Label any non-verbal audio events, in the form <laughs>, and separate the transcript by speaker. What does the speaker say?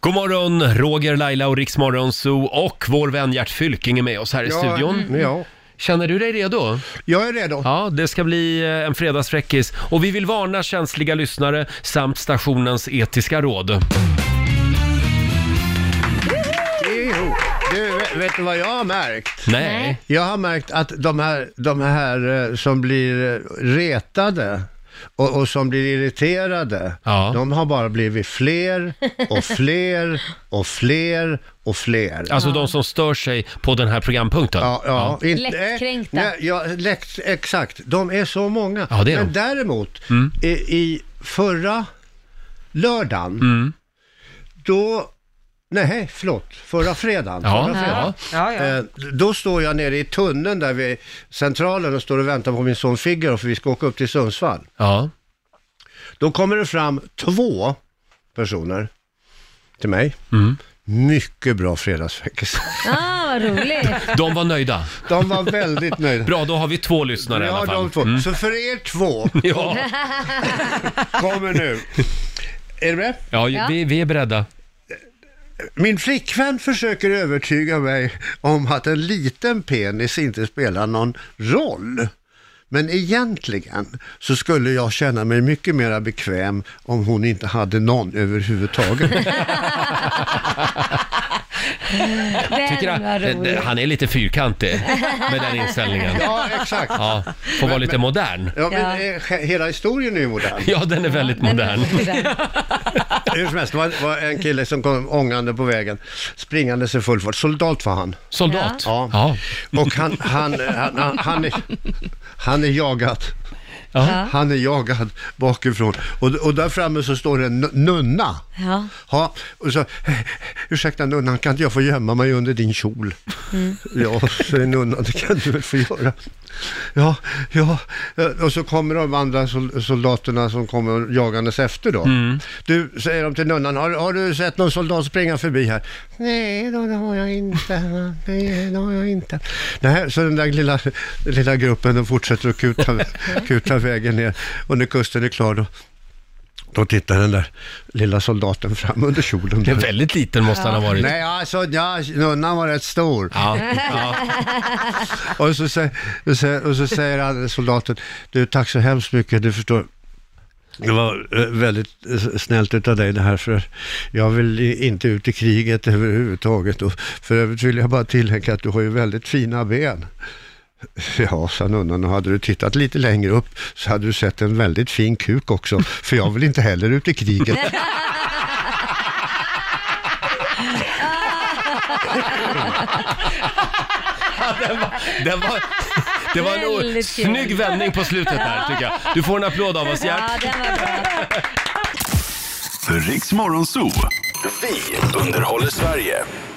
Speaker 1: God morgon, Roger, Laila och Riksmorgon Zoo och vår vän Gert Fylking är med oss här i studion.
Speaker 2: Ja, Mm.
Speaker 1: Känner du dig redo?
Speaker 2: jag är redo.
Speaker 1: Ja, det ska bli eh, en fredagsfräckis. Och vi vill varna känsliga lyssnare samt stationens etiska råd.
Speaker 2: Jo, du, vet- vet du vad jag har märkt?
Speaker 1: Nej.
Speaker 2: Jag har märkt att de här, de här eh, som blir eh, retade och, och som blir irriterade,
Speaker 1: Ja.
Speaker 2: de har bara blivit fler och fler och fler och fler.
Speaker 1: Alltså de som stör sig på den här programpunkten.
Speaker 2: Ja, ja. Inte,
Speaker 3: Lättkränkta.
Speaker 2: Nej, ja, lätt, exakt. De är så många.
Speaker 1: Ja, det är
Speaker 2: Men
Speaker 1: de. Mm.
Speaker 2: däremot, i, i förra lördagen,
Speaker 1: Mm.
Speaker 2: då... Nej, förlåt. Förra fredagen.
Speaker 1: Ja.
Speaker 2: Förra fredagen.
Speaker 4: Ja, ja.
Speaker 2: Eh, Då står jag nere i tunneln där vid centralen och står och väntar på min son Figaro för vi ska åka upp till Sundsvall.
Speaker 1: Ja.
Speaker 2: Då kommer det fram två personer till mig.
Speaker 1: Mm.
Speaker 2: Mycket bra fredagsfräckis.
Speaker 3: Ah, vad roligt.
Speaker 1: De var nöjda.
Speaker 2: De var väldigt nöjda.
Speaker 1: Bra, då har vi två lyssnare i
Speaker 2: Ja,
Speaker 1: alla fall. Mm.
Speaker 2: de två. Så för er
Speaker 1: <laughs>
Speaker 2: två
Speaker 1: Ja,
Speaker 2: kommer nu. Är du med?
Speaker 1: ja,
Speaker 3: Ja.
Speaker 1: Vi, vi är beredda.
Speaker 2: Min flickvän försöker övertyga mig om att en liten penis inte spelar någon roll. Men egentligen så skulle jag känna mig mycket mer bekväm om hon inte hade
Speaker 1: <laughs>
Speaker 2: någon överhuvudtaget.
Speaker 1: Tycker
Speaker 3: Den var
Speaker 1: han,
Speaker 3: rolig.
Speaker 1: han är lite fyrkantig med den
Speaker 2: <laughs>
Speaker 1: inställningen.
Speaker 2: Ja, exakt.
Speaker 1: Ja, får vara lite modern.
Speaker 2: Ja, men, eh, Hela historien är ju modern.
Speaker 1: Ja, den är väldigt modern.
Speaker 2: Hur som helst, det var, var en kille som kom ångande på vägen, springande sig full fart. Soldat var han.
Speaker 1: Soldat.
Speaker 2: Ja.
Speaker 1: Ja.
Speaker 2: Och han, han, han, han, han, är, han är jagad.
Speaker 1: Ja.
Speaker 2: Han är jagad bakifrån. Och, och där framme så står det en nu- nunna.
Speaker 3: Ja.
Speaker 2: Ja, och så, "Eh, ursäkta nunnan, kan inte jag få gömma mig under din kjol? Ja, säger nunnan, det kan du väl få göra. Ja, ja. eh, Och så kommer de andra sol- soldaterna som kommer jagandes efter då. Du, säger de till nunnan, har, har du sett någon soldat springa förbi här? Nej, då, det har jag inte. Nej, det har jag inte. Nej, så den där lilla, lilla gruppen, de fortsätter att kuta, kuta vägen ner. Och när kusten är klar då, då tittar den där lilla soldaten fram under kjolen.
Speaker 1: Det är väldigt liten måste han ha varit.
Speaker 2: Nej, alltså, ja, nunnan var rätt stor.
Speaker 1: Ja. <laughs> Ja.
Speaker 2: Och så, sä- och så, och så säger han, soldaten, du tack så hemskt mycket, du förstår. Det var eh, väldigt eh, snällt utav dig det här för jag vill i- inte ut i kriget överhuvudtaget och för övrigt vill jag bara tillägga att du har ju väldigt fina ben. <laughs> Ja, sa nunnan och hade du tittat lite längre upp så hade du sett en väldigt fin kuk också för jag vill inte heller ut
Speaker 1: <laughs>
Speaker 2: i kriget.
Speaker 1: Det var, det var en o-
Speaker 3: Väldigt kul.
Speaker 1: snygg vändning på slutet där tycker jag. Du får en applåd av oss Gert.
Speaker 3: Ja, den var bra.
Speaker 5: Riks Morgonzoo. Vi underhåller Sverige.